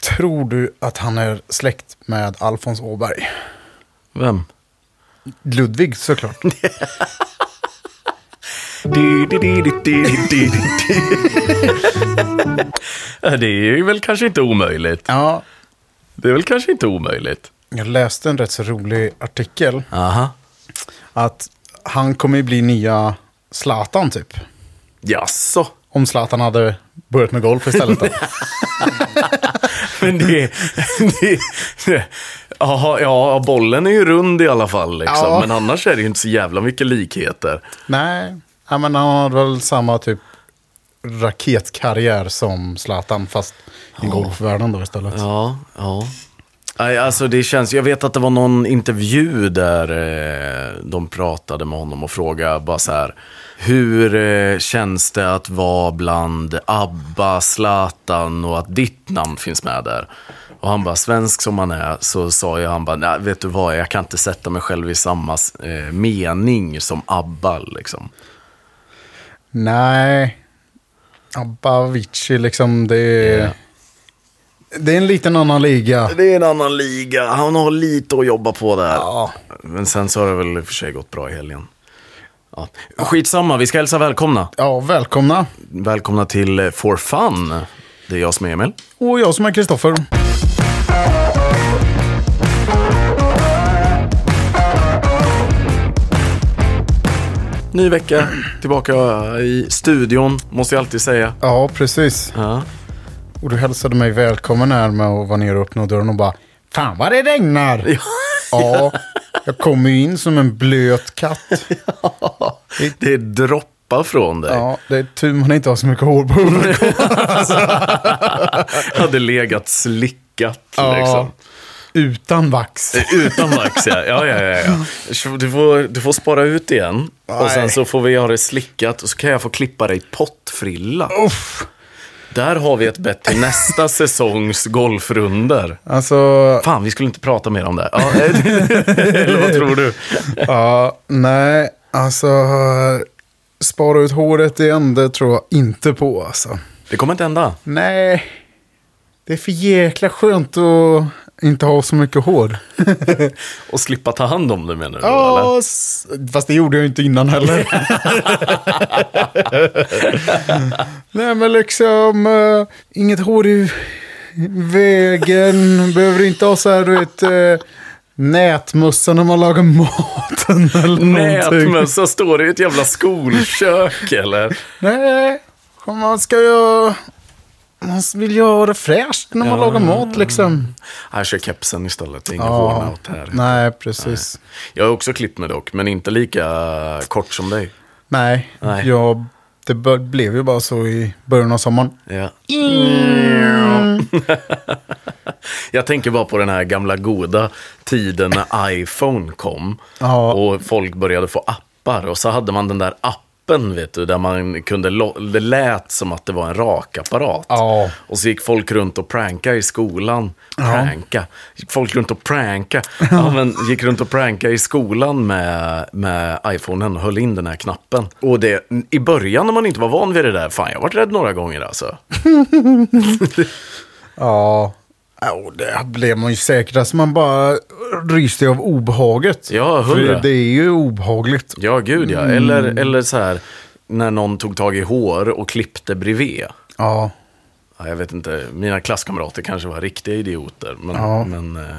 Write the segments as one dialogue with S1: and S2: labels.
S1: Tror du att han är släkt med Alfons Åberg?
S2: Vem?
S1: Ludvig såklart.
S2: Ja, Det är väl kanske inte omöjligt.
S1: Ja,
S2: Det är väl kanske inte omöjligt.
S1: jag läste en rätt så rolig artikel.
S2: Aha.
S1: Att han kommer ju bli nya Zlatan typ.
S2: Jaså?
S1: Om Zlatan hade börjat med golf istället. Då.
S2: Men det... det aha, ja, bollen är ju rund i alla fall. Liksom.
S1: Ja.
S2: Men annars är det ju inte så jävla mycket likheter.
S1: Nej, ja, men han hade väl samma typ raketkarriär som Zlatan. Fast i golfvärlden då istället.
S2: Ja, ja. Nej, alltså det känns, jag vet att det var någon intervju där eh, de pratade med honom och frågade bara så här. Hur eh, känns det att vara bland ABBA, Zlatan och att ditt namn finns med där? Och han bara, svensk som han är, så sa ju han bara, nej vet du vad, jag kan inte sätta mig själv i samma eh, mening som ABBA liksom.
S1: Nej. Abavici liksom, det är...
S2: Ja.
S1: Det är en liten annan liga.
S2: Det är en annan liga, han har lite att jobba på där.
S1: Ja.
S2: Men sen så har det väl i och för sig gått bra i helgen. Ja. Skitsamma, vi ska hälsa välkomna.
S1: Ja, välkomna.
S2: Välkomna till eh, For Fun. Det är jag som är Emil.
S1: Och jag som är Kristoffer.
S2: Ny vecka, tillbaka i studion, måste jag alltid säga.
S1: Ja, precis.
S2: Ja.
S1: Och du hälsade mig välkommen här med att vara nere och öppna dörren och bara Fan vad det regnar! Ja, jag kommer ju in som en blöt katt.
S2: Det är droppar från dig.
S1: Ja, det är tur man inte har så mycket hår på huvudet.
S2: Hade legat slickat liksom.
S1: Ja, utan vax.
S2: Eh, Utan vax, ja. Ja, ja, ja, ja. Du, får, du får spara ut igen. Och sen
S1: Nej.
S2: så får vi ha det slickat och så kan jag få klippa dig pottfrilla.
S1: Uff.
S2: Där har vi ett bett till nästa säsongs golfrunder.
S1: Alltså,
S2: Fan, vi skulle inte prata mer om det. Ja, eh, eller vad tror du?
S1: ja, nej, alltså. Spara ut håret igen, det tror jag inte på alltså.
S2: Det kommer inte hända.
S1: Nej, det är för jäkla skönt att inte ha så mycket hår.
S2: Och slippa ta hand om det menar du? eller?
S1: Ja, s- fast det gjorde jag ju inte innan heller. Nej, men liksom eh, inget hår i vägen. Behöver inte ha så här, du vet, eh, nätmössa när man lagar maten eller någonting.
S2: Nätmössa står det i ett jävla skolkök eller?
S1: Nej, man ska ju... Man vill ju ha det fräscht när man
S2: Ja,
S1: lagar
S2: ja,
S1: mat liksom.
S2: Här kör kepsen istället, det är ingen
S1: Ja.
S2: wornout här.
S1: Nej, precis.
S2: Jag har också klippt mig dock, men inte lika kort som dig.
S1: Nej,
S2: Nej.
S1: Jag, det bör, blev ju bara så i början av sommaren.
S2: Ja. Jag tänker bara på den här gamla goda tiden när iPhone kom.
S1: Ja.
S2: Och folk började få appar. Och så hade man den där appen, vet du, där man kunde... lo- Det lät som att det var en rakapparat.
S1: Ja.
S2: Och så gick folk runt och pranka i skolan. Pranka. Gick folk runt och pranka. Ja, men gick runt och pranka i skolan med, med iPhonen och höll in den här knappen. Och det, i början när man inte var van vid det där, fan jag varit rädd några gånger alltså.
S1: Ja. Jo, det blev man ju säkert. Alltså man bara ryste av obehaget.
S2: Ja, hundra.
S1: För det är ju obehagligt.
S2: Ja, gud ja. Eller, eller så här, när någon tog tag i hår och klippte bredvid.
S1: Ja.
S2: Ja, jag vet inte, mina klasskamrater kanske var riktiga idioter. Men,
S1: Ja.
S2: men eh,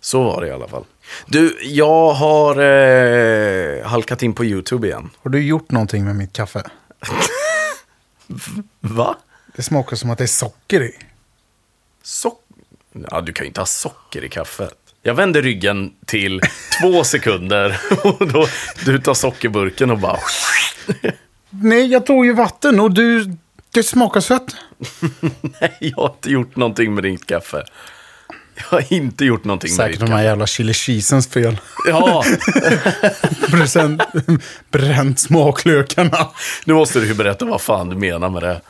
S2: så var det i alla fall. Du, jag har eh, halkat in på YouTube igen.
S1: Har du gjort någonting med mitt kaffe?
S2: Va?
S1: Det smakar som att det är socker i.
S2: Socker? Ja, du kan ju inte ha socker i kaffet. Jag vände ryggen till två sekunder och då, du tar sockerburken och bara...
S1: Nej, jag tog ju vatten och du... Det smakar sött.
S2: Nej, jag har inte gjort någonting med ditt kaffe. Jag har inte gjort någonting med ditt
S1: Säkert de här jävla chili cheesens fel.
S2: Ja,
S1: Present, bränt smaklökarna.
S2: nu måste du ju berätta vad fan du menar med det.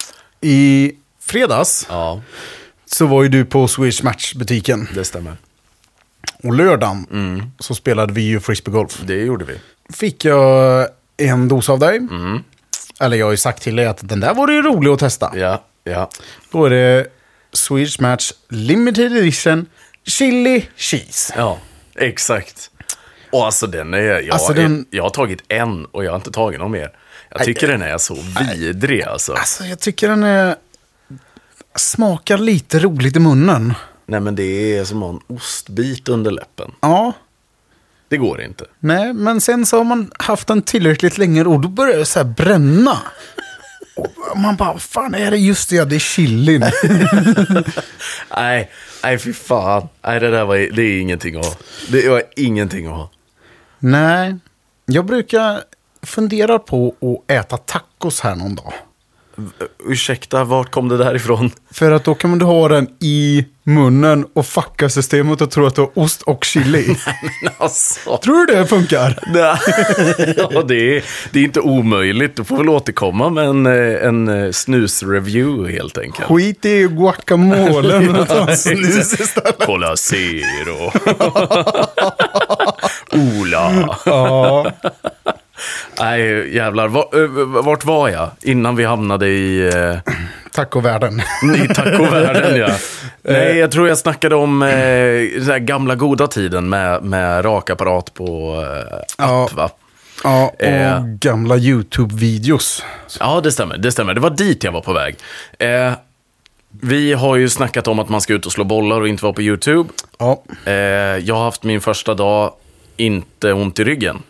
S1: I fredags
S2: Ja,
S1: så var ju du på Swedish Match-butiken.
S2: det stämmer.
S1: Och lördagen
S2: Mm.
S1: så spelade vi ju frisbeegolf.
S2: Det gjorde vi.
S1: fick jag en dos av dig. Eller jag har ju sagt till dig att den där vore ju rolig att testa.
S2: Ja, ja.
S1: Då är det Swedish Match Limited Edition Chili Cheese.
S2: Ja, exakt. Och alltså den är, jag,
S1: Alltså, den-
S2: jag har tagit en och jag har inte tagit någon mer. Jag tycker den är så vidrig alltså.
S1: Alltså jag tycker den är... Smakar lite roligt i munnen.
S2: Nej men det är som att ha en ostbit under läppen.
S1: Ja,
S2: Det går inte.
S1: nej, men sen så har man haft den tillräckligt länge och då börjar det så här bränna. Och man bara, vad fan är det? Just det, ja, det är chilin.
S2: Nej, nej fy fan. Nej det där var, det är ingenting att ha. Det var ingenting att ha.
S1: nej, jag brukar fundera på att äta tacos här någon dag.
S2: Ursäkta, vart kom det där ifrån?
S1: För att då kan man ha den i munnen och fucka systemet och tro att du har ost och chili. i.
S2: Men alltså.
S1: Tror du det funkar?
S2: Nej. ja, det, är, det är inte omöjligt. Du får väl återkomma med en, eh, en eh, snusreview helt enkelt.
S1: Skit i guacamolen och ta en snus istället.
S2: Cola Zero. Ola.
S1: Ja.
S2: Nej, jävlar. Va- eh, Vart var jag innan vi hamnade i, eh,
S1: Tacovärlden.
S2: i tacovärlden? Ja. Nej, jag tror jag snackade om eh, den här gamla goda tiden med, med rakapparat på eh,
S1: Ja.
S2: app, va?
S1: Ja, och
S2: Eh.
S1: gamla YouTube-videos.
S2: Ja, det stämmer. Det stämmer. Det var dit jag var på väg. Eh, vi har ju snackat om att man ska ut och slå bollar och inte vara på YouTube.
S1: Ja.
S2: Eh, jag har haft min första dag, inte ont i ryggen.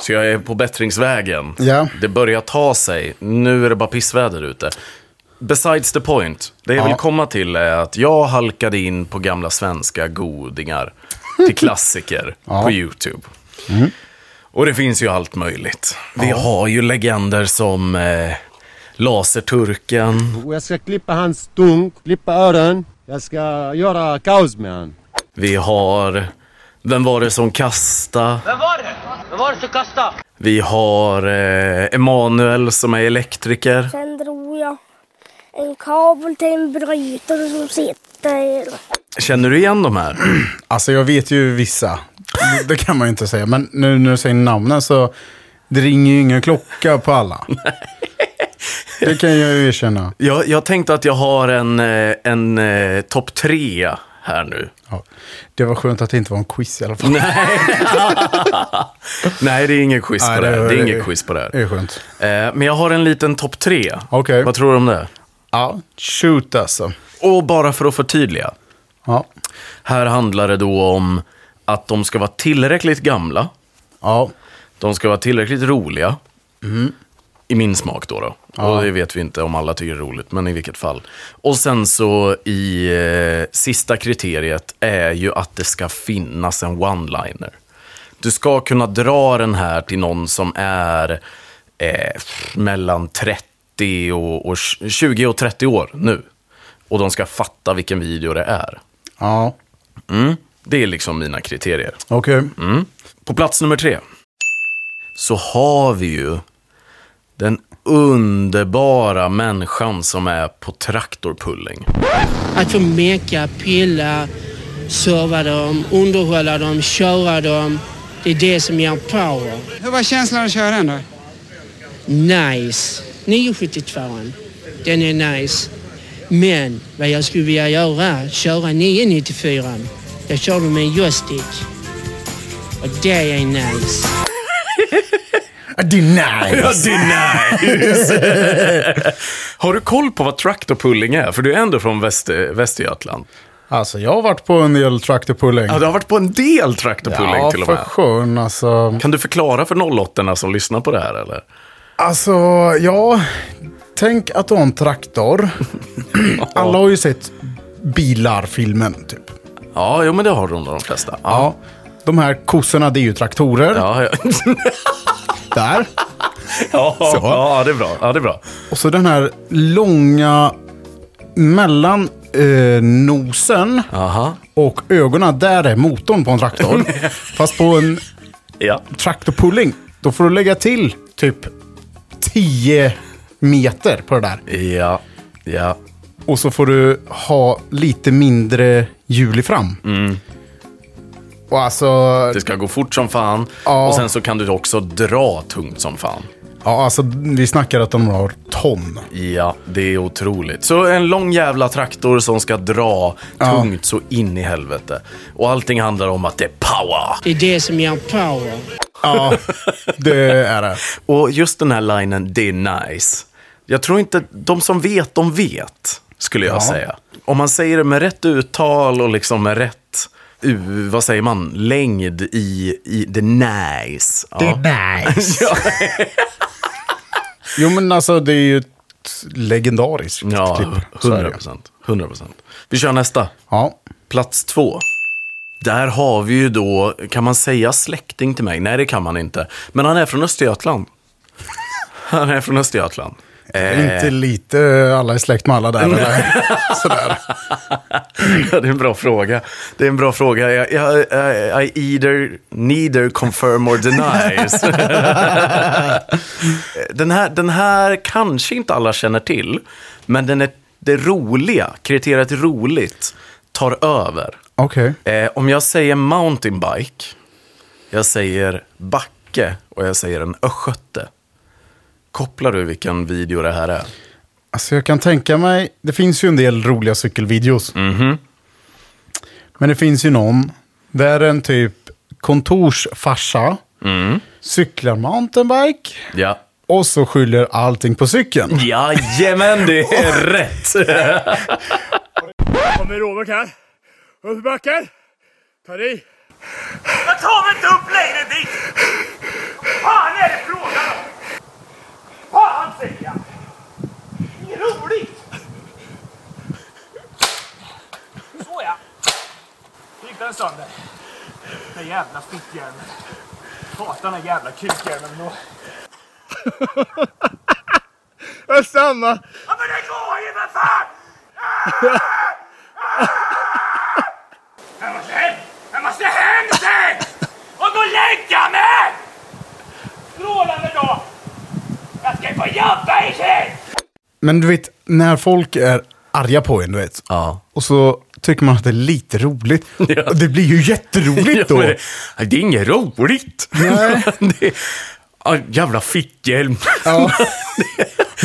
S2: Så jag är på bättringsvägen.
S1: Ja.
S2: Det börjar ta sig. Nu är det bara pissväder ute. Besides the point. Det jag
S1: Ja.
S2: vill komma till är att jag halkade in på gamla svenska godingar till klassiker på YouTube.
S1: Mm.
S2: Och det finns ju allt möjligt. Vi har ju legender som eh, Laserturken.
S3: Och jag ska klippa hans dunk, klippa öron. Jag ska göra kaos med han.
S2: Vi har... Vem var det som kastade?
S4: Vem var det? Vem var det som kastade?
S2: Vi har eh, Emanuel som är elektriker.
S5: Sen drog jag en kabel till en brytare som sitter.
S2: Känner du igen de här?
S1: Alltså jag vet ju vissa. Det kan man ju inte säga. Men nu när du säger namnen så det ringer ju ingen klocka på alla. Det kan jag ju erkänna.
S2: Jag, jag tänkte att jag har en, eh, en eh, topp tre här nu.
S1: Ja. Det var skönt att det inte var en quiz i alla fall.
S2: Nej, det är ingen quiz
S1: Nej,
S2: på det här.
S1: det-
S2: Det är
S1: det-
S2: ingen quiz på det
S1: Det
S2: här.
S1: är skönt.
S2: Eh, men jag har en liten topp tre.
S1: Okej.
S2: Vad tror du om det?
S1: Ja, shoot alltså.
S2: Och bara för att förtydliga.
S1: Ja.
S2: Här handlar det då om att de ska vara tillräckligt gamla.
S1: Ja.
S2: De ska vara tillräckligt roliga. I min smak då. då. Och det vet vi inte om alla tycker är roligt, men i vilket fall. Och sen så i eh, sista kriteriet är ju att det ska finnas en one-liner. Du ska kunna dra den här till någon som är eh, mellan 30 och, och 20 och 30 år nu. Och de ska fatta vilken video det är.
S1: Ja.
S2: Mm. Det är liksom mina kriterier.
S1: Okej.
S2: Mm. På plats nummer tre så har vi ju den underbara människan som är på traktorpulling.
S6: att få meka, pilla, serva dem, underhålla dem, köra dem. Det är det som ger power.
S7: Hur var känslan att köra den då?
S6: Nice. 972 Den är nice. Men vad jag skulle vilja göra, köra 994 Jag kör dem med en joystick. Och det är nice.
S1: Deny.
S2: det är Har du koll på vad traktorpulling är? För du är ändå från Väster, Västergötland.
S1: Alltså jag har varit på en del traktorpulling.
S2: Ja, du har varit på en del traktorpulling till och
S1: för
S2: med.
S1: sjön alltså.
S2: Kan du förklara för 08 som lyssnar på det här eller?
S1: Alltså, ja. Tänk att du har en traktor. Alla har ju sett bilar-filmen typ.
S2: Ja, jo, men det har de de flesta. Ja.
S1: Ja. De här kossorna, det är ju traktorer.
S2: Ja, ja.
S1: Där.
S2: ja, ja, det är bra. Ja, det är bra.
S1: Och så den här långa mellan eh, nosen
S2: Aha.
S1: och ögonen. Där är motorn på en traktor. Fast på en
S2: Ja.
S1: traktorpulling, då får du lägga till typ 10 meter på det där.
S2: Ja. Ja.
S1: Och så får du ha lite mindre hjul i fram.
S2: Mm.
S1: Och alltså,
S2: Det ska gå fort som fan
S1: Ja.
S2: och sen så kan du också dra tungt som fan.
S1: Ja, alltså vi snackar att de har ton.
S2: Ja, det är otroligt. Så en lång jävla traktor som ska dra tungt så in i helvete. Och allting handlar om att det är power.
S6: Det är det som ger power.
S1: Ja, det är det.
S2: Och just den här linen, det är nice. Jag tror inte, de som vet, de vet, skulle jag
S1: Ja.
S2: säga. Om man säger det med rätt uttal och liksom med rätt, u, vad säger man, längd i, i det nice. Ja.
S1: nice. Jo, men alltså det är ju ett legendariskt
S2: ja,
S1: klipp. Så är det.
S2: 100 procent. 100 procent. Vi kör nästa.
S1: Ja.
S2: Plats två. Där har vi ju då, kan man säga släkting till mig? Nej, det kan man inte. Men han är från Östergötland. Han är från Östergötland. Eh.
S1: Inte lite alla är släkt med alla där.
S2: Mm.
S1: Eller? Sådär.
S2: Ja, det är en bra fråga. Det är en bra fråga. Jag, jag, I, I either, neither confirm or denies. den, här, den här kanske inte alla känner till, men den är, det roliga, kriteriet roligt, tar över.
S1: Okej.
S2: Eh, om jag säger mountainbike, jag säger backe och jag säger en östgöte. Kopplar du vilken video det här är?
S1: Alltså jag kan tänka mig, det finns ju en del roliga cykelvideos.
S2: Mhm.
S1: Men det finns ju någon där en typ kontorsfarsa
S2: Mm.
S1: cyklar mountainbike
S2: Ja.
S1: och så skyller allting på cykeln.
S2: Jajamän, det är rätt!
S7: Kommer Robert här. Upp i backen. Ta dig.
S8: Jag tar mig inte upp längre dit! Vad fan är det frågan om? Fan säger jag! Inget roligt! Såja! Gick den sönder? Den jävla fittjäveln. Hatar den jävla kukjäveln då.
S7: Jag stannar.
S8: Ja men det går ju för fan! Jag måste hem! Jag måste hem sen! Och gå och lägga mig! Strålande dag! Jag ska ju få jobba i kväll!
S1: Men du vet, när folk är arga på en, du vet.
S2: Ja.
S1: Och så tycker man att det är lite roligt. Och det blir ju jätteroligt
S2: Ja,
S1: då.
S2: men det, det är inget roligt.
S1: Nej.
S2: det, ah, jävla fickhjälm.
S1: Ja.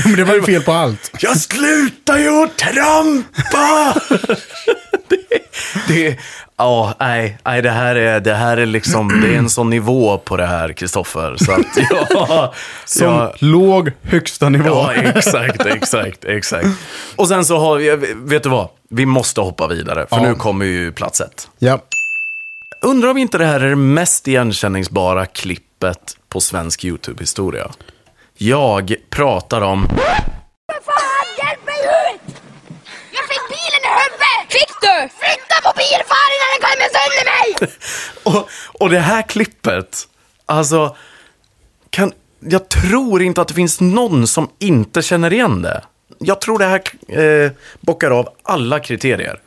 S1: Men det var ju fel på allt.
S2: Jag slutar ju att trampa! det, det, ja, nej, nej, det här är, det här är liksom, det är en sån nivå på det här, Kristoffer. Så att, ja,
S1: Som
S2: ja,
S1: låg högsta nivå.
S2: ja, exakt, exakt, exakt. Och sen så har vi, vet du vad? Vi måste hoppa vidare, för
S1: Ja.
S2: nu kommer ju plats ett.
S1: ja.
S2: Undrar om inte det här är det mest igenkänningsbara klippet på svensk YouTube-historia. Jag pratar om...
S9: Fan, hjälp mig ut! Jag fick bilen i huvudet! Fick du? Flytta på bilfar innan den kommer sönder mig!
S2: Och, och det här klippet, alltså... Kan, jag tror inte att det finns någon som inte känner igen det. Jag tror det här eh, bockar av alla kriterier.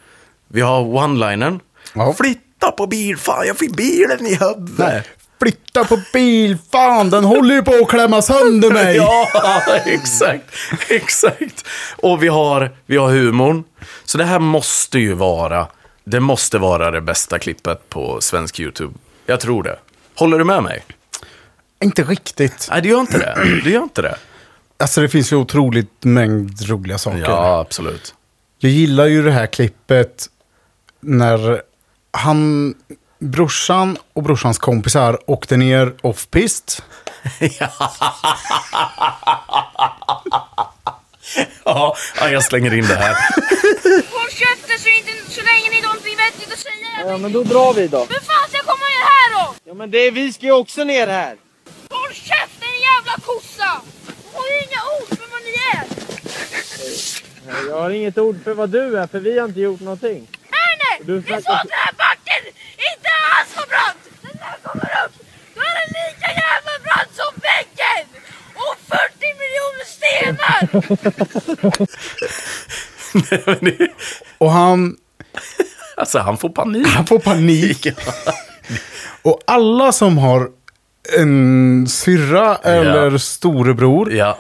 S2: Vi har one-linern.
S1: Ja.
S2: Flytta på bil, fan jag fick bilen i huvudet.
S1: Nej. Flytta på bil, fan den håller ju på att klämma sönder mig.
S2: Ja, exakt. Exakt. Och vi har, vi har humorn. Så det här måste ju vara, det måste vara det bästa klippet på svensk YouTube. Jag tror det. Håller du med mig?
S1: Inte riktigt.
S2: Nej, du gör inte det. Du gör inte det.
S1: Alltså det finns ju otroligt mängd roliga saker.
S2: Ja, absolut.
S1: Jag gillar ju det här klippet när han, brorsan och brorsans kompisar åkte ner offpist.
S2: Ja, ja, jag slänger in det här.
S9: Håll käften så, inte, så länge ni inte blir vettigt och säger Ja, men då drar vi då. Men fan ska jag komma ner här då? Ja, men det, vi ska ju också ner här. Håll käften din jävla kossa! Har ju inga ord för vad ni är! Nej, nej! Det är så att den här backen inte är alls så brant! När den här kommer upp, då är den lika jävla brant som väggen! Och 40 miljoner stenar!
S2: Men det-
S1: Och han,
S2: Alltså, han får panik.
S1: han får panik. och alla som har en syrra eller storebror.
S2: Ja.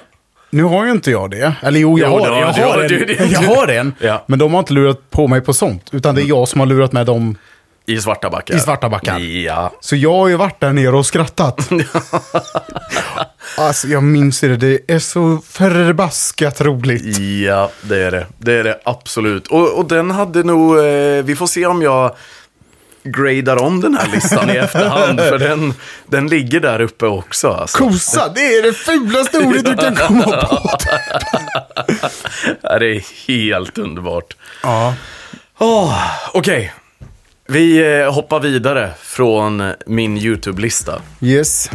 S1: Nu har ju inte jag det. Eller jo, jag
S2: Jo,
S1: har,
S2: du har-
S1: jag
S2: du
S1: har
S2: har-
S1: en.
S2: du- du-
S1: jag har en.
S2: Ja.
S1: Men de har inte lurat på mig på sånt. Utan det är jag som har lurat med dem
S2: I svarta backar.
S1: I svarta backar.
S2: Ja.
S1: Så jag har ju varit där nere och skrattat. alltså jag minns det, det är så förbaskat roligt.
S2: Ja, det är det. Det är det absolut. Och, och den hade nog, eh, vi får se om jag gradar om den här listan i efterhand. För den, den ligger där uppe också. Alltså.
S1: Kossa, det är det fulaste ordet du kan komma på.
S2: Ja, Det är helt underbart.
S1: Ja.
S2: Åh, Okej, vi eh, hoppar vidare från min YouTube-lista.
S1: Yes.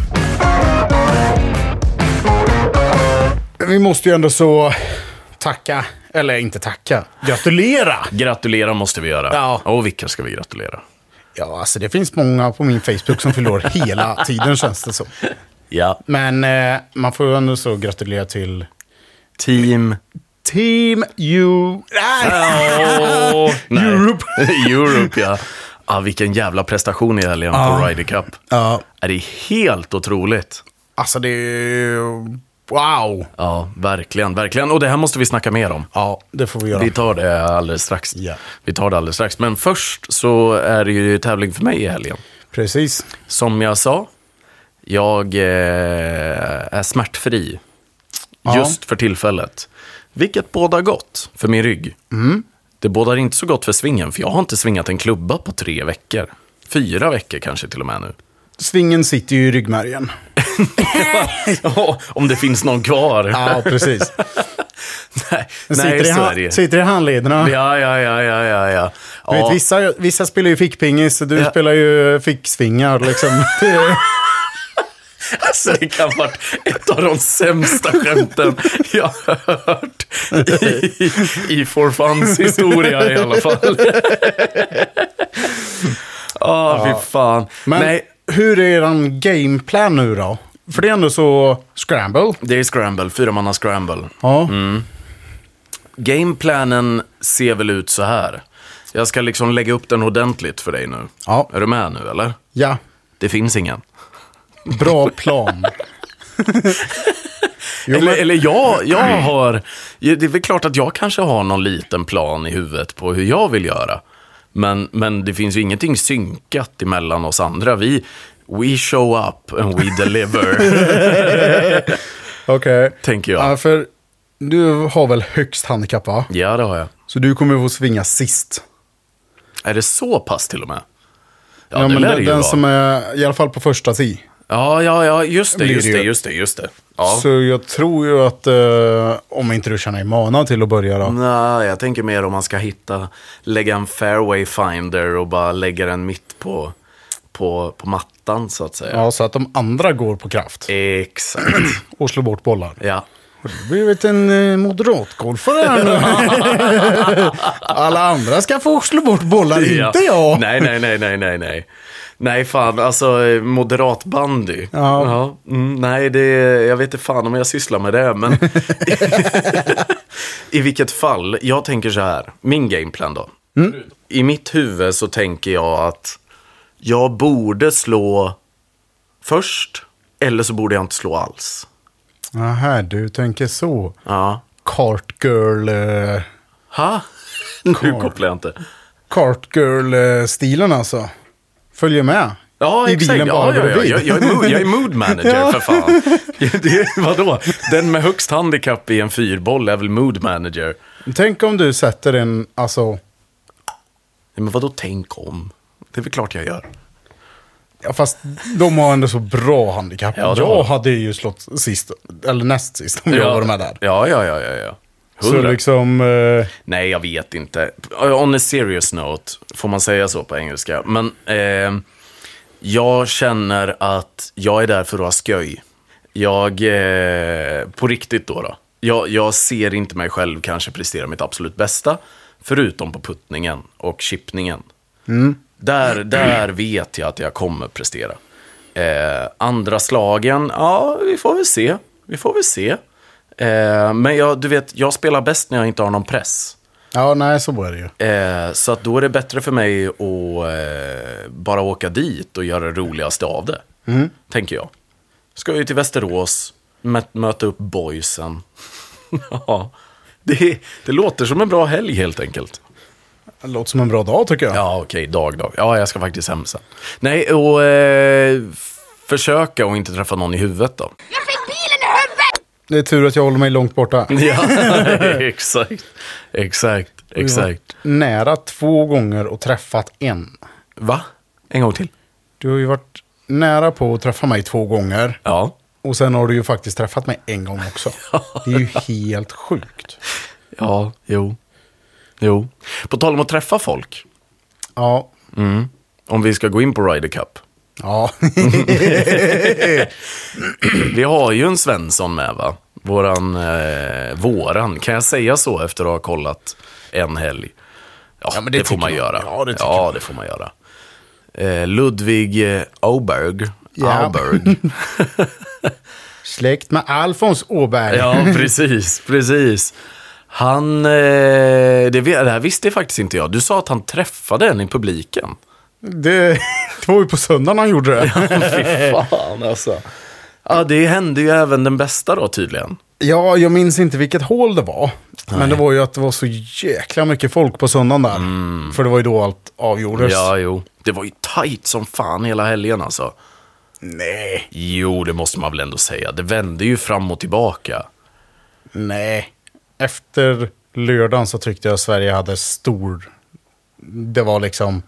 S1: Vi måste ju ändå så tacka, eller inte tacka, gratulera.
S2: Gratulera måste vi göra.
S1: Ja.
S2: Och vilka ska vi gratulera?
S1: Ja, alltså det finns många på min Facebook som förlorar hela tiden känns det som.
S2: Ja.
S1: Men eh, man får ju ändå så gratulera till
S2: Team...
S1: Team U... Nej!
S2: Åh, nej.
S1: Europe.
S2: Europe, ja. Ah, vilken jävla prestation i helgen på Ryder Cup.
S1: Ja,
S2: Är det är helt otroligt.
S1: alltså det är ju- Wow!
S2: Ja, verkligen, verkligen. Och det här måste vi snacka mer om.
S1: Ja, det får vi göra.
S2: Vi tar det alldeles strax.
S1: Ja.
S2: Vi tar det alldeles strax. Men först så är det ju tävling för mig i helgen.
S1: Precis.
S2: Som jag sa, jag eh, är smärtfri
S1: Ja.
S2: just för tillfället. Vilket bådar gott för min rygg.
S1: Mm.
S2: Det bådar inte så gott för svingen, för jag har inte svingat en klubba på tre veckor. Fyra veckor kanske till och med nu.
S1: Svingen sitter ju i ryggmärgen.
S2: Ja, Om det finns någon kvar.
S1: Ja, precis.
S2: nej,
S1: Den
S2: nej,
S1: sitter, i
S2: så
S1: ha-
S2: är det ju.
S1: sitter i handlederna.
S2: Ja, ja, ja, ja, ja. ja.
S1: Du
S2: Ja.
S1: Vet, vissa, vissa spelar ju fickpingis, du
S2: Ja.
S1: spelar ju ficksvingar liksom. Det är-
S2: Alltså det kan ha varit ett av de sämsta skämten jag har hört i, i For Funs historia i alla fall. Ja, fy fan.
S1: Men
S2: Nej,
S1: hur är eran gameplan nu då? För det är ändå så scramble.
S2: det är scramble, fyra manna scramble.
S1: Ja.
S2: Mm. Gameplanen ser väl ut så här. Jag ska liksom lägga upp den ordentligt för dig nu.
S1: Ja.
S2: Är du med nu eller?
S1: ja,
S2: Det finns ingen.
S1: bra plan. jo,
S2: Eller,
S1: men,
S2: eller jag, jag har... Det är väl klart att jag kanske har någon liten plan i huvudet på hur jag vill göra. Men, men det finns ju ingenting synkat emellan oss andra. Vi, we show up and we deliver,
S1: okej.
S2: tänker
S1: Ja.
S2: jag.
S1: för du har väl högst handikapp va?
S2: Ja, det har jag.
S1: Så du kommer få svinga sist.
S2: Är det så pass till och med? Ja,
S1: Ja,
S2: det
S1: men
S2: lär
S1: den,
S2: det ju
S1: den
S2: vara.
S1: som är, i alla fall på första si.
S2: Ja, ja, ja, just det,
S1: blir
S2: just
S1: det
S2: det,
S1: ju.
S2: just det, just det. Ja.
S1: Så jag tror ju att, eh, om inte du känner dig manad till att börja
S2: Mm.
S1: då.
S2: Nej, jag tänker mer om man ska hitta, lägga en fairway finder och bara lägga den mitt på, på, på mattan så att säga.
S1: Ja, så att de andra går på
S2: Eh.
S1: kraft
S2: Exakt,
S1: och slår bort bollar.
S2: ja.
S1: Du blivit en eh, moderatgolfare här nu. Alla andra ska få slå bort bollar, inte jag.
S2: Nej, nej, nej, nej, nej, nej. Nej, fan, alltså eh, moderat bandy.
S1: Ja.
S2: mm, nej, det, jag vet inte fan om jag sysslar med det, men i vilket fall, jag tänker så här, min gameplan då.
S1: Mm.
S2: I mitt huvud så tänker jag att jag borde slå först, eller så borde jag inte slå alls.
S1: Aha, du tänker så.
S2: Ja.
S1: Cartgirl... Eh,
S2: Ha? Nu kopplar jag inte.
S1: Cartgirl-stilen alltså. Följer med.
S2: Ja,
S1: I
S2: exakt.
S1: bilen
S2: ja,
S1: bara
S2: ja, ja.
S1: bredvid.
S2: Jag, jag, är mood, jag är mood manager, för fan. Det, vadå? Den med högst handikapp i en fyrboll är väl mood manager?
S1: Tänk om du sätter en, alltså...
S2: Nej, men vadå tänk om? Det är väl klart jag gör.
S1: Ja, fast de har ändå så bra handikapp.
S2: Ja, det har
S1: jag
S2: de.
S1: hade ju slått sist, eller näst sist om jag var med där.
S2: Ja, ja, ja, ja. ja.
S1: Så
S2: Hundra.
S1: liksom... Eh,
S2: Nej, jag vet inte. Eh, On a serious note, får man säga så på engelska? Men eh, jag känner att jag är där för att ha skoj. Jag, eh, på riktigt då, då jag, jag ser inte mig själv kanske prestera mitt absolut bästa, förutom på puttningen och chippningen. Där, där vet jag att jag kommer prestera. Eh, andra slagen, ja, vi får väl se. Vi får väl se. Eh, men jag, du vet, jag spelar bäst när jag inte har någon press.
S1: ja, nej, så är det ju.
S2: Eh, så att då är det bättre för mig att eh, bara åka dit och göra det roligaste av det. Tänker jag. Ska ju till Västerås, mö- möta upp boysen. ja, det, det låter som en bra helg helt enkelt.
S1: Det låter som en bra dag tycker jag.
S2: Ja, okej. dag, dag. Ja, jag ska faktiskt hem sen. Nej, och eh, f- försöka och inte träffa någon i huvudet då.
S9: Jag fick bilen i huvudet!
S1: Det är tur att jag håller mig långt borta.
S2: Ja, exakt. Exakt, exakt.
S1: Nära två gånger och träffat en.
S2: Va? En gång till?
S1: Du har ju varit nära på att träffa mig två gånger.
S2: Ja.
S1: Och sen har du ju faktiskt träffat mig en gång också. Det är ju helt sjukt.
S2: Ja, jo. Jo. På tal om att träffa folk,
S1: Ja.
S2: om vi ska gå in på Ryder Cup.
S1: Ja.
S2: Vi har ju en Svensson med va? Våran, eh, våran, kan jag säga så efter att ha kollat en helg? Ja,
S1: men
S2: det,
S1: det
S2: får man,
S1: tycker man.
S2: göra.
S1: Ja, det tycker
S2: ja,
S1: man.
S2: det får man göra. Eh, Ludvig eh, Åberg.
S1: Ja.
S2: Åberg.
S1: Släkt med Alfons Åberg.
S2: Ja, precis, precis. Han, eh, det, ve- det här visste faktiskt inte jag. Du sa att han träffade en i publiken.
S1: Det, det var ju på söndagen han gjorde det.
S2: Fy fan alltså. Ja, det hände ju även den bästa då tydligen.
S1: Ja, jag minns inte vilket hål det var. Men det var ju att det var så jäkla mycket folk på söndagen där. För det var ju då allt avgjordes.
S2: Mm. Ja, jo. Det var ju tajt som fan hela helgen alltså.
S1: Nej,
S2: Jo, det måste man väl ändå säga. Det vände ju fram och tillbaka.
S1: nej. Efter lördagen så tyckte jag Sverige hade stor... Det var liksom...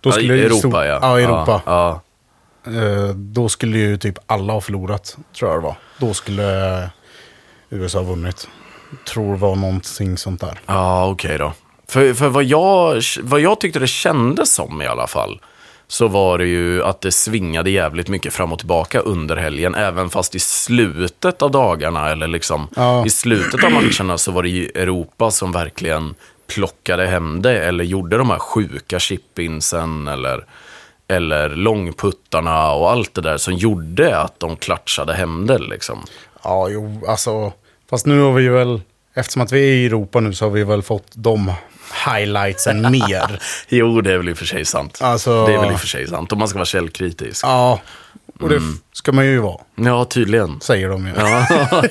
S1: Då
S2: Ja, i
S1: ju
S2: Europa
S1: stor-
S2: ja.
S1: Ja, i Europa.
S2: Ja, ja.
S1: Eh, Då skulle ju typ alla ha förlorat, tror jag det var. Då skulle eh, USA ha vunnit. Tror det var någonting sånt där.
S2: Ja, okej då. För, för vad, jag, vad jag tyckte det kändes som i alla fall, så var det ju att det svingade jävligt mycket fram och tillbaka under helgen, även fast i slutet av dagarna, eller liksom
S1: Ja.
S2: i slutet av matcherna, så var det ju Europa som verkligen plockade hem det, eller gjorde de här sjuka chipinsen, eller, eller långputtarna och allt det där som gjorde att de klatschade hem det liksom.
S1: Ja, jo, alltså. Fast nu har vi väl, eftersom att vi är i Europa nu så har vi väl fått de highlightsen mer.
S2: Jo, det är väl i och för sig sant.
S1: Alltså-
S2: Det är väl i och för sig sant, om man ska vara källkritisk.
S1: Ja, och det f- ska man ju vara,
S2: Ja, tydligen.
S1: säger de ju.
S2: Mm. Ja,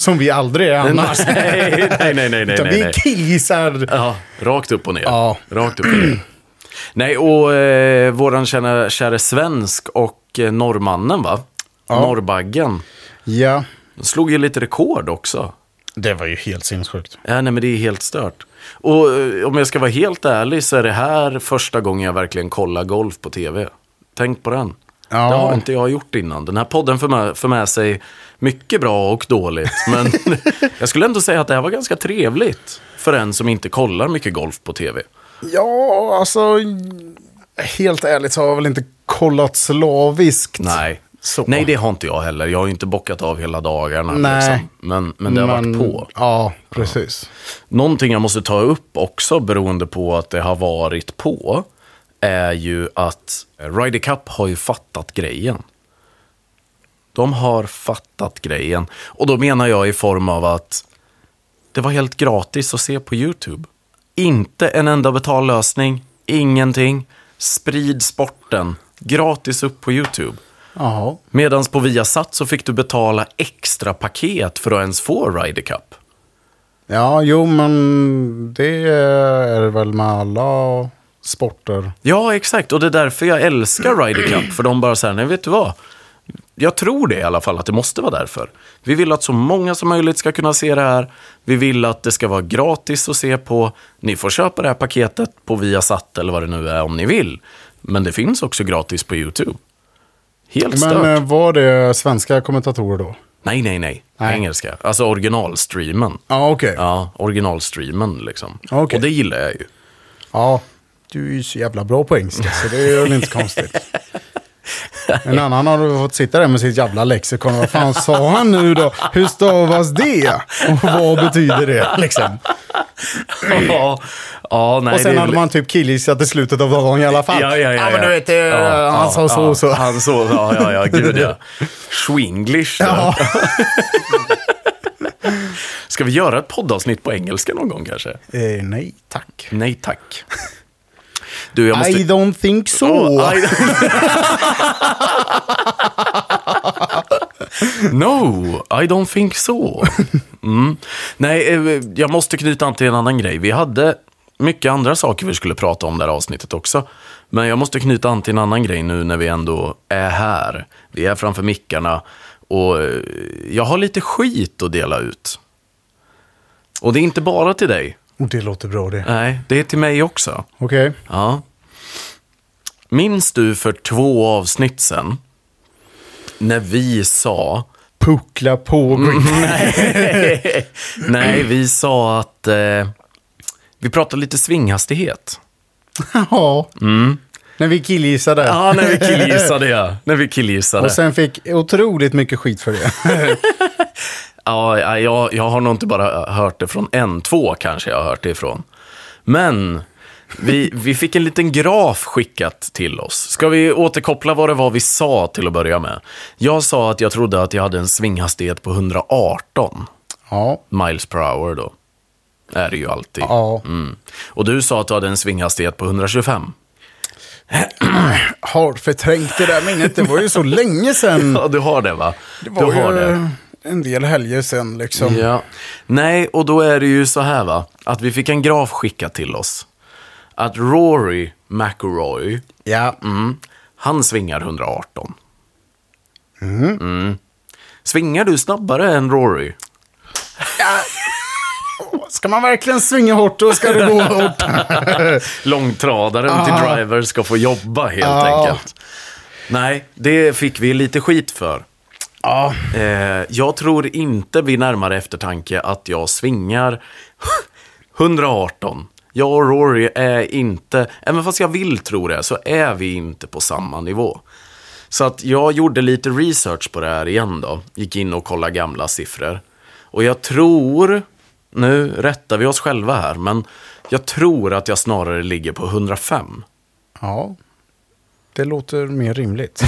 S1: Som vi aldrig är annars.
S2: Nej, nej, nej, nej, nej,
S1: Utan
S2: nej.
S1: vi killgissar.
S2: Ja, rakt upp och ner.
S1: Ja.
S2: Rakt upp och ner. Nej, och eh, våran kära, kära svensk och eh, norrmannen, va? Norrbaggen.
S1: Ja,
S2: Slog ju lite rekord också.
S1: det var ju helt sinnessjukt.
S2: Ja, nej, men det är helt stört. Och eh, om jag ska vara helt ärlig så är det här första gången jag verkligen kollar golf på tv. Tänk på den.
S1: Ja.
S2: Det har inte jag gjort innan. Den här podden för med, för med sig mycket bra och dåligt. Men jag skulle ändå säga att det här var ganska trevligt. För en som inte kollar mycket golf på tv.
S1: Ja, alltså. Helt ärligt så har jag väl inte kollat slaviskt.
S2: Nej.
S1: Så.
S2: Nej, det har inte jag heller. Jag har ju inte bockat av hela dagarna.
S1: Nej.
S2: Liksom. Men, men det har
S1: Men-
S2: varit på.
S1: Ja, precis.
S2: Någonting jag måste ta upp också beroende på att det har varit på är ju att Ryder Cup har ju fattat grejen. De har fattat grejen. Och då menar jag i form av att det var helt gratis att se på YouTube. Inte en enda betallösning, ingenting. Sprid sporten, gratis upp på YouTube.
S1: Jaha.
S2: Medan på Viasat så fick du betala extra paket för att ens få Ryder Cup.
S1: Ja, jo, men det är det väl med alla sporter.
S2: Ja, exakt. Och det är därför jag älskar Ryder Cup. För de bara säger, nej vet du vad? Jag tror det i alla fall, att det måste vara därför. Vi vill att så många som möjligt ska kunna se det här. Vi vill att det ska vara gratis att se på. Ni får köpa det här paketet på Viasat eller vad det nu är om ni vill. Men det finns också gratis på YouTube. Helt stört.
S1: Men eh, var det svenska kommentatorer då?
S2: nej, nej, nej,
S1: Nej.
S2: Engelska. Alltså originalstreamen.
S1: Ja, okej.
S2: Ja, originalstreamen liksom.
S1: Okej.
S2: Och det gillar jag ju.
S1: Ja, du är ju så jävla bra på engelska så det är väl inte så konstigt. En annan har du fått sitta där med sitt jävla lexikon. Vad fan sa han nu då? Hur stavas det? Och vad betyder det? Liksom.
S2: ja, ja, nej,
S1: Och sen
S2: det är
S1: hade
S2: väl-
S1: man typ killgissat i slutet av dagen i alla fall.
S2: Ja, ja, ja.
S1: men du vet, eh, han sa så
S2: ja,
S1: och så.
S2: Han så, ja, ja, ja, gud ja. Schwinglish. då.
S1: Ja.
S2: Ska vi göra ett poddavsnitt på engelska någon gång kanske?
S1: Eh, nej, tack.
S2: Nej tack. Du, jag måste...
S1: I don't think so.
S2: Oh, I no, I don't think so. Mm. Nej, eh, jag måste knyta an till en annan grej. Vi hade mycket andra saker vi skulle prata om det här avsnittet också. Men jag måste knyta an till en annan grej nu när vi ändå är här. Vi är framför mickarna och eh, jag har lite skit att dela ut. Och det är inte bara till dig.
S1: Och Oh, det låter bra det.
S2: Nej, det är till mig också.
S1: Okej.
S2: Ja. Minns du för två avsnitt sen när vi sa
S1: Puckla på Green.
S2: Nej, vi sa att eh, vi pratade lite svinghastighet.
S1: ja.
S2: Mm.
S1: När vi killgissade.
S2: Ja, när vi killgissade ja. När vi killgissade.
S1: Och sen fick otroligt mycket skit för det.
S2: Ja, ja, jag, jag har nog inte bara hört det från en, två kanske jag har hört det ifrån. Men vi, vi fick en liten graf skickat till oss. Ska vi återkoppla vad det var vi sa till att börja med? Jag sa att jag trodde att jag hade en svinghastighet på 118
S1: Ja.
S2: miles per hour då. Är det ju alltid.
S1: ja.
S2: Mm. Och du sa att du hade en svinghastighet på 125.
S1: Har förträngt det där minnet. Det var ju så länge sedan.
S2: Ja, du har det va? Det
S1: Mm. var
S2: du har
S1: ju
S2: det.
S1: en del helger sedan liksom.
S2: Ja. Nej, och då är det ju så här va, att vi fick en graf skickad till oss. Att Rory McIlroy,
S1: Ja.
S2: mm, han svingar 118. Mm. Svingar du snabbare än Rory?
S1: Ska man verkligen svinga hårt då ska det gå hårt.
S2: Långtradaren till driver ska få jobba helt
S1: Ah.
S2: enkelt. Nej, det fick vi lite skit för.
S1: Ja.
S2: Eh, jag tror inte vid närmare eftertanke att jag svingar 118. Jag och Rory är inte, även fast jag vill tro det, så är vi inte på samma nivå. Så att jag gjorde lite research på det här igen då. Gick in och kollade gamla siffror. Och jag tror, nu rättar vi oss själva här, men jag tror att jag snarare ligger på 105.
S1: ja. Det låter mer rimligt.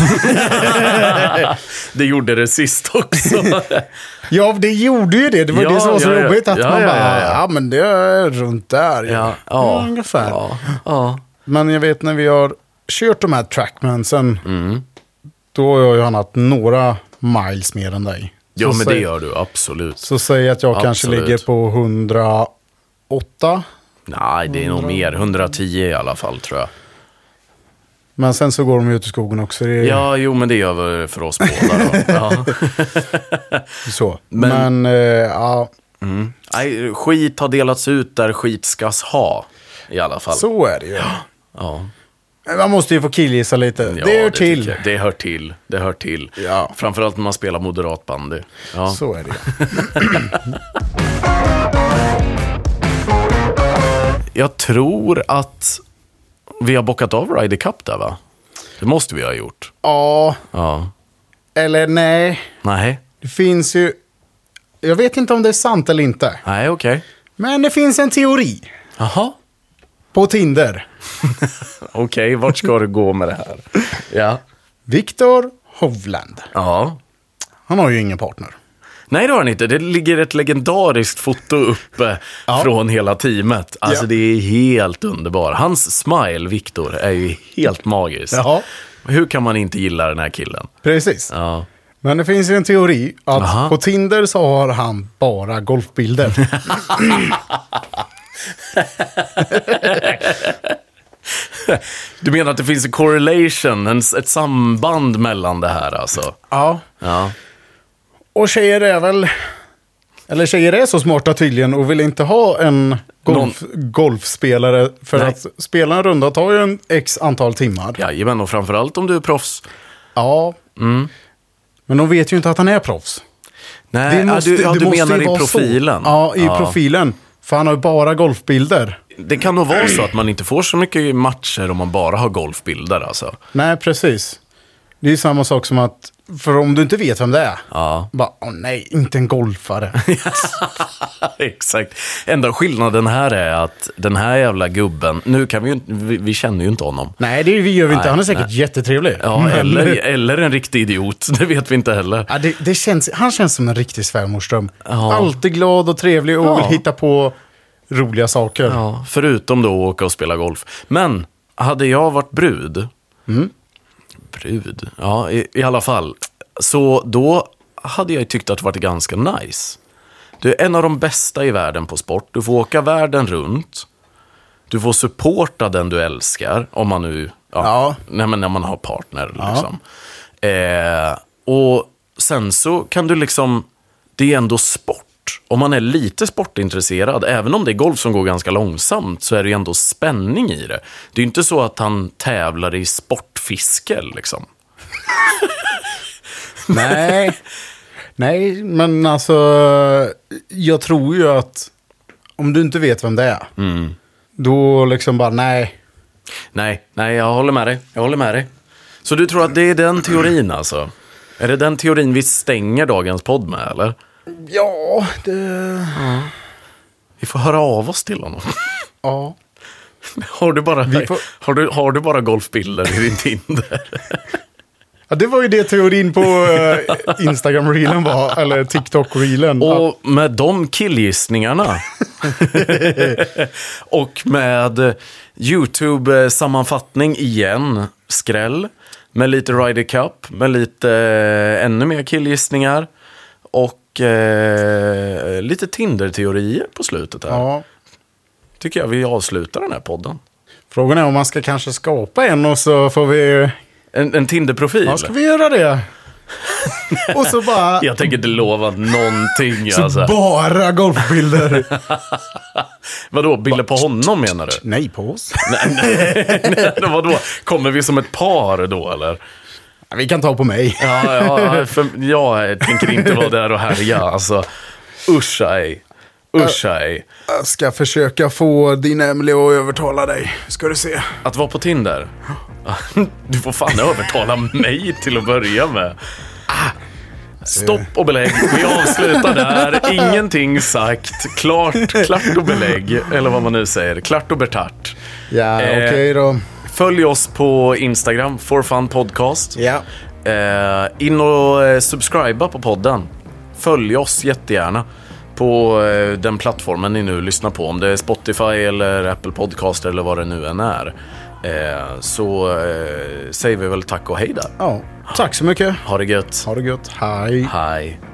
S2: Det gjorde det sist också.
S1: Ja, det gjorde ju det. Det var
S2: Ja,
S1: det som var så
S2: ja, ja.
S1: jobbigt. Att
S2: Ja,
S1: man
S2: ja,
S1: bara, ja,
S2: ja, ja.
S1: men det är runt där.
S2: ja,
S1: ja
S2: ja,
S1: ungefär.
S2: Ja, ja.
S1: Men jag vet när vi har kört de här trackmansen.
S2: Mm.
S1: Då har jag ju annat några miles mer än dig.
S2: ja
S1: så
S2: men det
S1: säg,
S2: gör du absolut.
S1: Så säg att jag kanske
S2: Absolut.
S1: ligger på 108.
S2: Nej, det är nog mer. 110 i alla fall tror jag.
S1: Men sen så går de ju ut i skogen också. Det är
S2: Ja, jo men det gör väl för oss båda då. Ja.
S1: så. Men, eh, ja,
S2: Nej, skit har delats ut där skit skas ha. I alla fall.
S1: så är det ju.
S2: Ja.
S1: Men Man måste ju få killgissa lite.
S2: Ja,
S1: det hör
S2: tycker
S1: till.
S2: jag. Det hör till. Det hör till.
S1: Ja.
S2: Framförallt när man spelar moderat bandy. Ja.
S1: Så är det ju.
S2: Jag tror att vi har bockat av Ryder Cup där va? Det måste vi ha gjort.
S1: Ja,
S2: Ja.
S1: eller nej.
S2: Nej.
S1: Det finns ju... Jag vet inte om det är sant eller inte.
S2: Nej, okej.
S1: Men det finns en teori.
S2: Jaha.
S1: På Tinder.
S2: Okej, vart ska du gå med det här? Ja.
S1: Viktor Hovland.
S2: Ja.
S1: Han har ju ingen partner.
S2: Nej, det har den inte. Det ligger ett legendariskt foto uppe från hela teamet. Alltså,
S1: Ja.
S2: det är helt underbart. Hans smile, Viktor, är ju helt magiskt.
S1: Jaha.
S2: Hur kan man inte gilla den här killen?
S1: Precis.
S2: Ja.
S1: Men det finns ju en teori att
S2: Aha.
S1: på Tinder så har han bara golfbilder.
S2: Du menar att det finns en correlation, en, ett samband mellan det här alltså?
S1: ja.
S2: Ja.
S1: Och tjejer är väl... Eller tjejer är så smarta tydligen och vill inte ha en golf, golfspelare. För
S2: Nej.
S1: att spela en runda tar ju en x antal timmar.
S2: Jajamän, och framförallt om du är proffs.
S1: Ja.
S2: Mm.
S1: Men de vet ju inte att han är proffs.
S2: Nej,
S1: Det
S2: ja,
S1: måste-
S2: du, ja,
S1: det
S2: du
S1: måste ju
S2: menar i
S1: vara
S2: profilen.
S1: Så. Ja, i profilen. För han har ju bara golfbilder.
S2: Det kan nog vara så att man inte får så mycket matcher om man bara har golfbilder alltså.
S1: Nej, precis. Det är ju samma sak som att, för om du inte vet vem det är,
S2: Ja.
S1: bara, åh nej, inte en golfare.
S2: Exakt. Enda skillnaden här är att den här jävla gubben, nu kan vi ju inte- vi, vi känner ju inte honom.
S1: nej, det gör vi inte. Han är säkert jättetrevlig.
S2: Ja,
S1: Men-
S2: eller, eller en riktig idiot, det vet vi inte heller.
S1: Ja, det, det känns, han känns som en riktig svärmorsdröm.
S2: Ja.
S1: Alltid glad och trevlig och
S2: Ja.
S1: vill hitta på roliga saker.
S2: Ja, förutom då att åka och spela golf. Men, hade jag varit brud, brud, ja i, i alla fall, så då hade jag ju tyckt att det varit ganska nice. Du är en av de bästa i världen på sport, du får åka världen runt. Du får supporta den du älskar, om man nu... Ja.
S1: Ja.
S2: Nej, men när man har partner, liksom. Eh, och sen så kan du liksom... Det är ändå sport. Om man är lite sportintresserad, även om det är golf som går ganska långsamt, så är det ju ändå spänning i det. Det är ju inte så att han tävlar i sportfiske, liksom.
S1: Nej. Nej, men alltså jag tror ju att om du inte vet vem det är, då liksom bara nej.
S2: Nej, nej, jag håller med dig. Jag håller med dig. Så du tror att det är den teorin
S1: Mm.
S2: alltså? Är det den teorin vi stänger dagens podd med, eller?
S1: Ja, det...
S2: Vi får höra av oss till honom.
S1: Ja.
S2: Har du bara,
S1: Vi får-
S2: har du, har du bara golfbilder i din Tinder?
S1: ja. Det var ju det teorin på eh, Instagram-reelen var, eller TikTok-reelen. Att-
S2: Och med de killgissningarna. och med YouTube-sammanfattning igen, skräll. Med lite Ryder Cup, med lite eh, ännu mer killgissningar. Och eh, lite Tinder-teorier på slutet här.
S1: Ja.
S2: Tycker jag vi avslutar den här podden.
S1: Frågan är om man ska kanske skapa en och så får vi...
S2: En, en Tinder-profil.
S1: Ja, ska vi göra det? och så bara...
S2: Jag tänker inte lova någonting.
S1: Så
S2: Alltså.
S1: bara golfbilder.
S2: Vadå, bilder på honom menar du?
S1: nej, på oss.
S2: Eller Vadå, kommer vi som ett par då eller?
S1: Vi kan ta på mig.
S2: Ja, ja för jag tänker inte vara där och härja. Alltså, usch ej. Usch ej.
S1: Jag ska försöka få din Emily att övertala dig. Ska du se.
S2: Att vara på Tinder? Du får fan övertala mig till att börja med. Ah, Stopp och belägg. Vi avslutar där. Ingenting sagt. Klart, klart och belägg. Eller vad man nu säger. Klart och bertart.
S1: Ja,
S2: Eh.
S1: okej då.
S2: Följ oss på Instagram, For Fun Podcast.
S1: Ja.
S2: Eh, in och eh, subscriba på podden. Följ oss jättegärna på eh, den plattformen ni nu lyssnar på. Om det är Spotify eller Apple Podcast eller vad det nu än är. Eh, så eh, säger vi väl tack och hej där.
S1: ja. Tack så mycket.
S2: Ha det gött.
S1: Ha det gött. Hej.
S2: Hej.